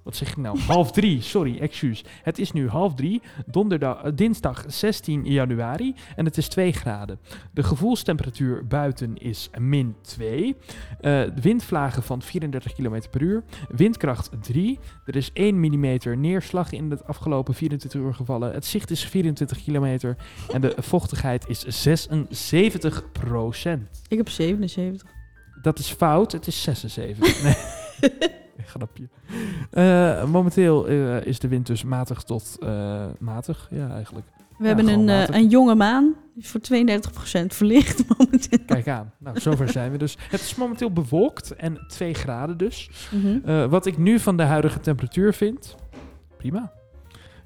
A: wat zeg ik nou? Half drie, sorry, excuus. Het is nu half drie, donderdag, eh, dinsdag 16 januari. En het is 2 graden. De gevoelstemperatuur buiten is min 2. Eh, windvlagen van 34 km per uur. Windkracht 3. Er is 1 mm neerslag in het afgelopen 24 uur gevallen. Het zicht is 24 kilometer. En de vochtigheid is 76
B: Ik heb 77. (laughs)
A: Dat is fout, het is 76. (laughs) Nee. Grapje. Eh, momenteel eh, is de wind dus matig tot eh, matig, ja eigenlijk.
B: We hebben
A: gewoon
B: een, eh,
A: matig.
B: een jonge maan. Die is voor 32% verlicht (laughs) momenteel.
A: Kijk aan. Nou, zover zijn we dus. Het is momenteel bewolkt en 2 graden dus.
B: Mhm.
A: Eh, wat ik nu van de huidige temperatuur vind, prima.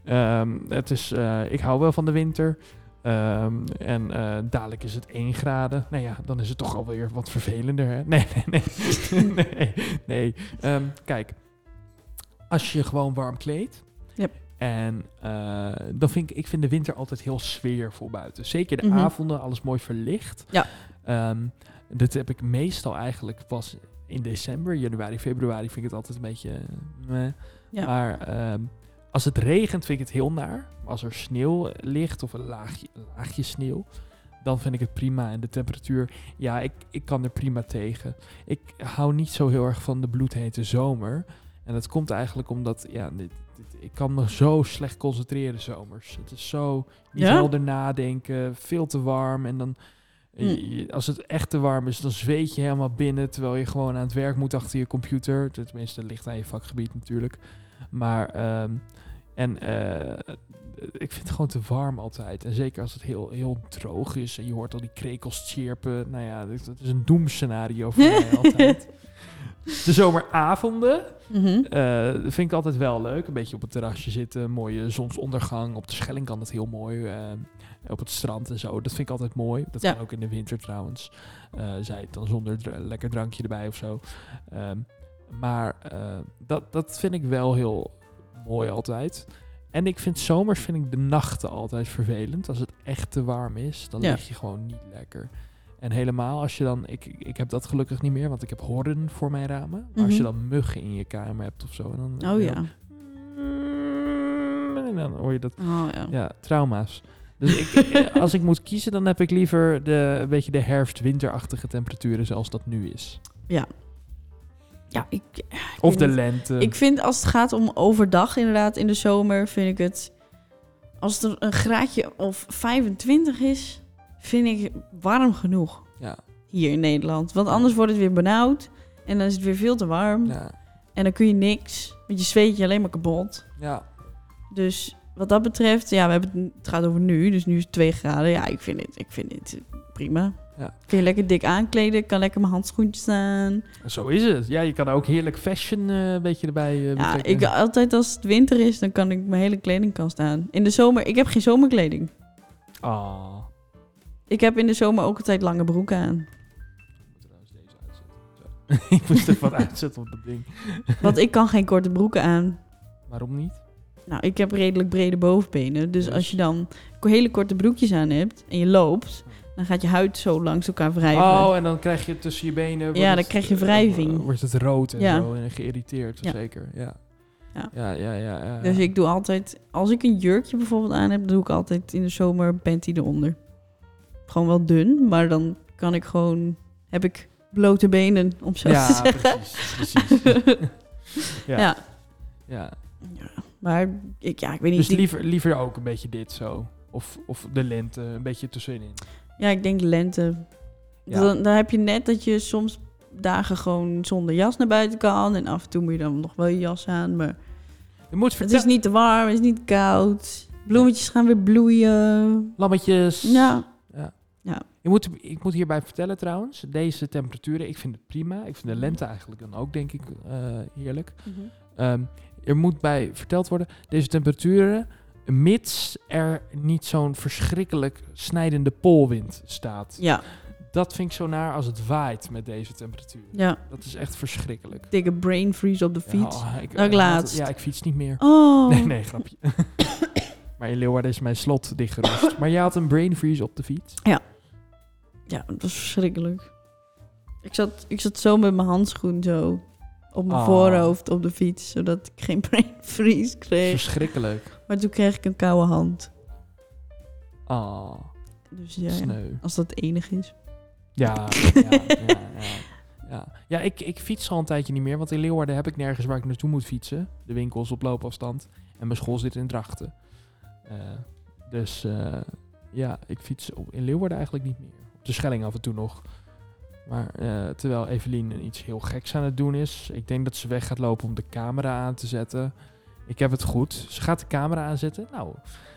A: Ehm, het is, eh, ik hou wel van de winter. Ehm, en eh, dadelijk is het 1 graden. Nou ja, dan is het toch alweer wat vervelender. Hè? Nee, nee, nee. (laughs) nee, nee. Ehm, kijk, als je gewoon warm kleedt.
B: Yep.
A: En eh, dan vind ik, ik vind de winter altijd heel sfeervol buiten. Zeker de
B: Mhm.
A: avonden, alles mooi verlicht.
B: Ja.
A: Ehm, dit heb ik meestal eigenlijk pas in december, januari, februari vind ik het altijd een beetje. eh, meh.
B: Ja.
A: Maar ehm, als het regent vind ik het heel naar. Maar Als er sneeuw ligt of een laagje, een laagje sneeuw, dan vind ik het prima. En de temperatuur, ja, ik, ik kan er prima tegen. Ik hou niet zo heel erg van de bloedhete zomer. En dat komt eigenlijk omdat, ja, dit, dit- ik kan me zo slecht concentreren zomers. Het is zo niet
B: Ja?
A: helder nadenken, veel te warm en dan je- je- Als het echt te warm is, dan zweet je helemaal binnen. Terwijl je gewoon aan het werk moet achter je computer. Tenminste, dat ligt aan je vakgebied natuurlijk. Maar, ehm, en eh, ik vind het gewoon te warm altijd. En zeker als het heel, heel droog is en je hoort al die krekels chirpen. Nou ja, dat, dat is een doemscenario voor mij altijd. De zomeravonden
B: Mhm.
A: eh, vind ik altijd wel leuk. Een beetje op het terrasje zitten, mooie zonsondergang. Op de Schelling kan dat heel mooi. eh, op het strand en zo. Dat vind ik altijd mooi. Dat
B: Ja.
A: kan ook in de winter trouwens. Eh zij het dan zonder dr- lekker drankje erbij of zo. Ehm, maar eh, dat, dat vind ik wel heel mooi altijd. En ik vind zomers vind ik de nachten altijd vervelend. Als het echt te warm is, dan
B: Ja.
A: lig je gewoon niet lekker. En helemaal als je dan, ik, ik heb dat gelukkig niet meer, want ik heb horden voor mijn ramen. Maar als je
B: Mhm.
A: dan muggen in je kamer hebt of zo, dan,
B: Oh ja.
A: en dan hoor je dat
B: Oh ja.
A: ja, trauma's. Dus ik, eh, als ik moet kiezen, dan heb ik liever de, een beetje de herfst-winterachtige temperaturen zoals dat nu is.
B: Ja, ik,
A: Of de
B: niet.
A: lente.
B: ik vind als het gaat om overdag inderdaad in de zomer, vind ik het... Als er een graadje of 25 is, vind ik warm genoeg
A: ja,
B: hier in Nederland. Want anders wordt het weer benauwd en dan is het weer veel te warm.
A: ja,
B: En dan kun je niks, want je zweet je alleen maar kapot.
A: ja,
B: Dus wat dat betreft, ja, we hebben het, het gaat over nu, dus nu is het 2 graden. Ja, ik vind het, ik vind het prima.
A: Ja.
B: Kun je lekker dik aankleden, kan lekker mijn handschoentjes aan.
A: zo is het. Ja, je kan ook heerlijk fashion eh, een beetje erbij eh,
B: Ja,
A: betrekken.
B: ik, altijd als het winter is, dan kan ik mijn hele kledingkast aan. In de zomer, ik heb geen zomerkleding.
A: Ah. (laughs)
B: Ik heb in de zomer ook altijd lange broeken aan.
A: ik moest er wat uitzetten op dat ding.
B: Want ik kan geen korte broeken aan.
A: Waarom niet?
B: Nou, ik heb redelijk brede bovenbenen. Dus
A: Dus?
B: als je dan ko- hele korte broekjes aan hebt en je loopt, dan gaat je huid zo langs elkaar wrijven.
A: Oh, en dan krijg je tussen je benen... wordt
B: Ja, dan
A: het,
B: krijg je
A: eh,
B: wrijving.
A: wordt het rood en
B: Ja.
A: zo en geïrriteerd,
B: Ja.
A: zeker. Ja.
B: Ja.
A: Ja, ja, ja, ja.
B: Dus ik doe altijd, als ik een jurkje bijvoorbeeld aan heb, doe ik altijd in de zomer een panty eronder. Gewoon wel dun, maar dan kan ik gewoon, heb ik blote benen, om zo te (laughs)
A: Ja,
B: zeggen.
A: precies,
B: (laughs)
A: precies. ja.
B: Ja.
A: ja.
B: Maar ik, ja, ik weet niet.
A: Dus
B: die-
A: liever, liever ook een beetje dit zo. Of, of de lente, een beetje tussenin.
B: Ja, ik denk lente.
A: Ja.
B: Dan, dan heb je net dat je soms dagen gewoon zonder jas naar buiten kan. En af en toe moet je dan nog wel je jas aan. Maar
A: Je moet
B: het is
A: vertellen.
B: niet te warm, het is niet koud. Bloemetjes gaan weer bloeien.
A: Lammetjes.
B: Ja,
A: Je moet, ik moet hierbij vertellen trouwens, deze temperaturen, ik vind het prima. Ik vind de lente eigenlijk dan ook, denk ik, eh, heerlijk. Ehm, er moet bij verteld worden, deze temperaturen, mits er niet zo'n verschrikkelijk snijdende poolwind staat.
B: ja.
A: dat vind ik zo naar als het waait met deze temperatuur.
B: Ja,
A: Dat is echt verschrikkelijk.
B: dikke brain freeze op de fiets.
A: Ja, oh, ik,
B: Ook
A: ik
B: laatst.
A: Ja, ik fiets niet meer. (laughs)
B: Oh,
A: Nee, nee, grapje. (coughs) maar in Leeuwarden is mijn slot dichtgerust. maar je had een brain freeze op de fiets.
B: ja, dat was verschrikkelijk. Ik zat, ik zat zo met mijn handschoen zo op mijn
A: Ah.
B: voorhoofd op de fiets, zodat ik geen (laughs) brain freeze kreeg.
A: Verschrikkelijk.
B: Maar toen kreeg ik een koude hand.
A: Ah,
B: Dus ja, ja,
A: sneu.
B: als dat enig is.
A: Ja, ja, ja, ja. ja. Ja, ik, ik fiets al een tijdje niet meer, want in Leeuwarden heb ik nergens waar ik naartoe moet fietsen. De winkels op loopafstand en mijn school zit in Drachten. Eh, dus eh, ja, ik fiets op, in Leeuwarden eigenlijk niet meer. Op de Schelling af en toe nog. Maar eh, terwijl Evelien iets heel geks aan het doen is. Ik denk dat ze weg gaat lopen om de camera aan te zetten. Ik heb het goed. Ze gaat de camera aanzetten. Nou,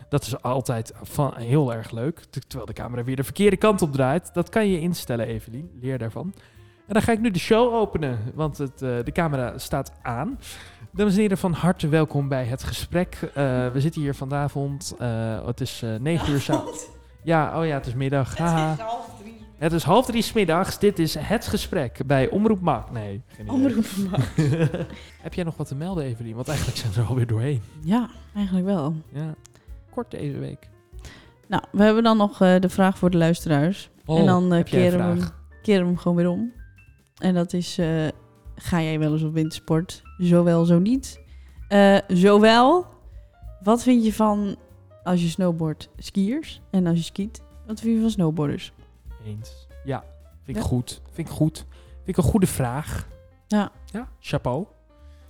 A: dat is altijd van, heel erg leuk. Ter- Terwijl de camera weer de verkeerde kant op draait. Dat kan je instellen, Evelien. Leer daarvan. En dan ga ik nu de show openen, want het, eh, de camera staat aan. Dames en heren, van harte welkom bij het gesprek. Eh, we zitten hier vanavond. eh, het is eh 9
B: (laughs)
A: uur s'avonds. Ja, oh ja, het is middag. Haha.
B: half drie.
A: Het is half drie 's middags. Dit is het gesprek bij Omroep Maak. Nee, geen idee. (laughs) Heb jij nog wat te melden, Evelien? Want eigenlijk zijn we er alweer doorheen.
B: Ja, eigenlijk wel.
A: Ja. Kort deze week.
B: Nou, we hebben dan nog eh, de vraag voor de luisteraars.
A: Oh,
B: en dan eh,
A: heb jij een
B: keren, we hem,
A: vraag?
B: keren we hem gewoon weer om. En dat is, eh, ga jij wel eens op wintersport? Zowel, zo niet. Eh, zowel, wat vind je van als je snowboard skiers en als je skiet? Wat vind je van snowboarders?
A: Eens. Ja, vind ik
B: Ja.
A: goed. Vind ik goed. Vind ik een goede vraag.
B: Ja. Oh.
A: Ja, chapeau.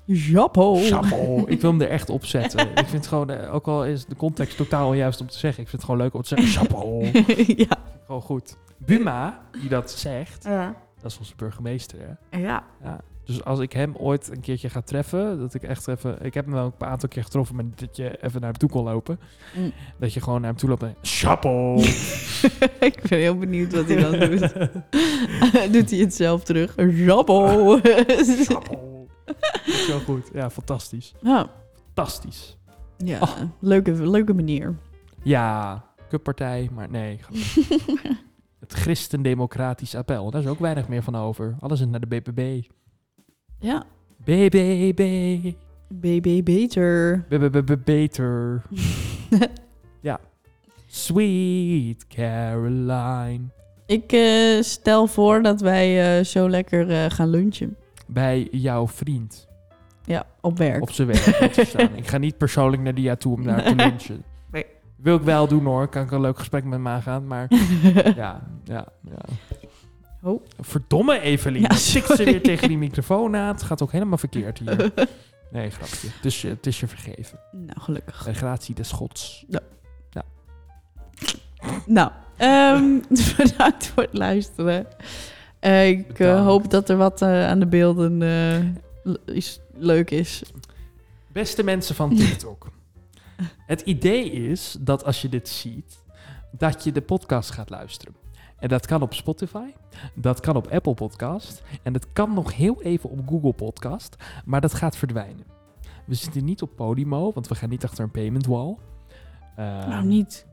B: Jappo!
A: Chapeau. ik wil hem er echt op zetten. ik vind het gewoon, eh, ook al is de context totaal onjuist om te zeggen, ik vind het gewoon leuk om te zeggen,
B: (laughs)
A: chapeau. Vind
B: (laughs) ja.
A: ik gewoon goed. Buma, die dat zegt,
B: ja.
A: dat is onze burgemeester, hè?
B: Ja.
A: Ja, dus als ik hem ooit een keertje ga treffen, dat ik echt even... Ik heb hem wel een aantal keer getroffen, maar dat je even naar hem toe kon lopen.
B: Mm.
A: Dat je gewoon naar hem toe loopt en... Chapeau!
B: (laughs) ik ben heel benieuwd wat hij dan
A: (laughs)
B: doet. (laughs) doet hij het zelf terug?
A: (laughs)
B: Jappo!
A: Chapeau! Dat is Zo goed. Ja, fantastisch.
B: (laughs) ja,
A: Fantastisch.
B: ja.
A: Oh.
B: Leuke, leuke manier.
A: Ja, kutpartij, maar nee. grapje. Het christendemocratisch appel. Daar is ook weinig meer van over. Alles is naar de BBB.
B: Ja,
A: BBB.
B: BB beter.
A: Beter. ja. Sweet Caroline.
B: Ik eh, stel voor dat wij eh, zo lekker eh, gaan lunchen.
A: Bij jouw vriend.
B: Ja, op werk.
A: Op zijn werk. moet je staan. ik ga niet persoonlijk naar die jaar toe om daar
B: (laughs)
A: te lunchen.
B: Nee.
A: Wil ik wel doen hoor. Kan ik een leuk gesprek met hem aangaan.
B: (laughs)
A: Maar ja, ja, ja.
B: Oh.
A: Verdomme Evelien.
B: Ja,
A: Ja, Tikt ze
B: sorry.
A: weer tegen die microfoon aan. Het gaat ook helemaal verkeerd
B: (laughs)
A: hier. Nee, grapje. Het is, je- het is je vergeven.
B: nou, gelukkig.
A: Bij gratie des gods.
B: Nou, ehm, (laughs) bedankt voor het luisteren. Eh, ik eh,
A: Bedankt.
B: hoop dat er wat eh, aan de beelden eh, le- is, leuk is.
A: Beste mensen van TikTok.
B: (laughs)
A: Het idee is dat als je dit ziet, dat je de podcast gaat luisteren. En dat kan op Spotify, dat kan op Apple Podcast en dat kan nog heel even op Google Podcast, maar dat gaat verdwijnen. We zitten niet op Podimo, want we gaan niet achter een payment wall. Eh,
B: nou, niet.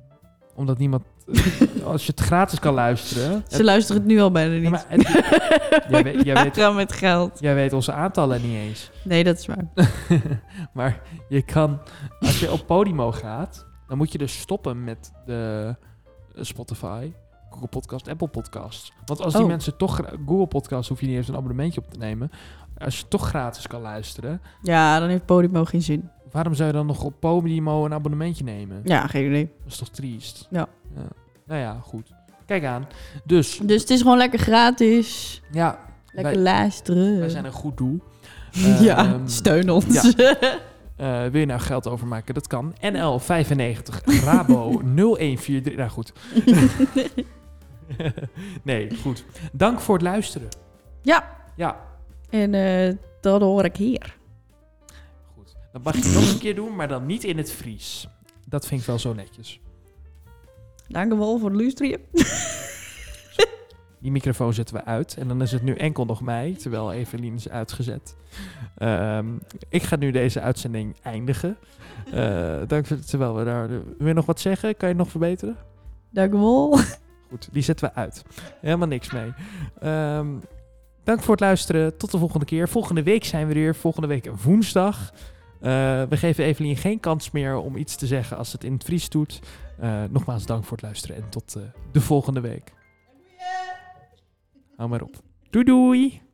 A: Omdat niemand, eh,
B: (laughs)
A: als je het gratis kan luisteren.
B: Ze luisteren het nu al bijna niet.
A: Ja, maar het- jij weet- jij
B: We
A: weet-
B: gaan met geld.
A: jij weet onze aantallen niet eens.
B: Nee, dat
A: (laughs)
B: is waar.
A: maar je kan, als je op Podimo gaat, dan moet je dus stoppen met de eh, Spotify, Google Podcast, Apple Podcasts. Want als die
B: Oh.
A: mensen toch, gra- Google Podcasts hoef je niet eens een abonnementje op te nemen. Als je toch gratis kan luisteren,
B: Ja, dan heeft Podimo geen zin.
A: waarom zou je dan nog op Podimo een abonnementje nemen?
B: Ja, geen idee.
A: Dat is toch triest?
B: Ja.
A: Nou ja, goed. Kijk aan. Dus,
B: Dus het is gewoon lekker gratis.
A: ja,
B: Lekker
A: wij,
B: luisteren.
A: wij zijn een goed doel.
B: (laughs) ja,
A: Ehm,
B: steun ons.
A: Eh, wil je nou geld overmaken? Dat kan. NL95 Rabo 0143. Nou goed. (laughs) nee, goed. Dank voor het luisteren.
B: Ja.
A: Ja,
B: (laughs) En eh, dat hoor ik hier.
A: goed. Dat mag je het nog een keer doen, maar dan niet in het Fries. Dat vind ik wel zo netjes.
B: Dankjewel voor het luisteren.
A: Die microfoon zetten we uit. En dan is het nu enkel nog mij, terwijl Evelien is uitgezet. Ehm, ik ga nu deze uitzending eindigen. Eh, dank, voor- terwijl we daar... Wil je nog wat zeggen? Kan je het nog verbeteren?
B: Dankjewel.
A: Goed, die zetten we uit. Helemaal niks mee. Ehm, dank voor het luisteren. Tot de volgende keer. Volgende week zijn we er weer. Volgende week woensdag. Eh, we geven Evelien geen kans meer om iets te zeggen als ze het in het Fries doet. Eh, nogmaals dank voor het luisteren en tot eh, de volgende week. Hou maar op. Doei doei!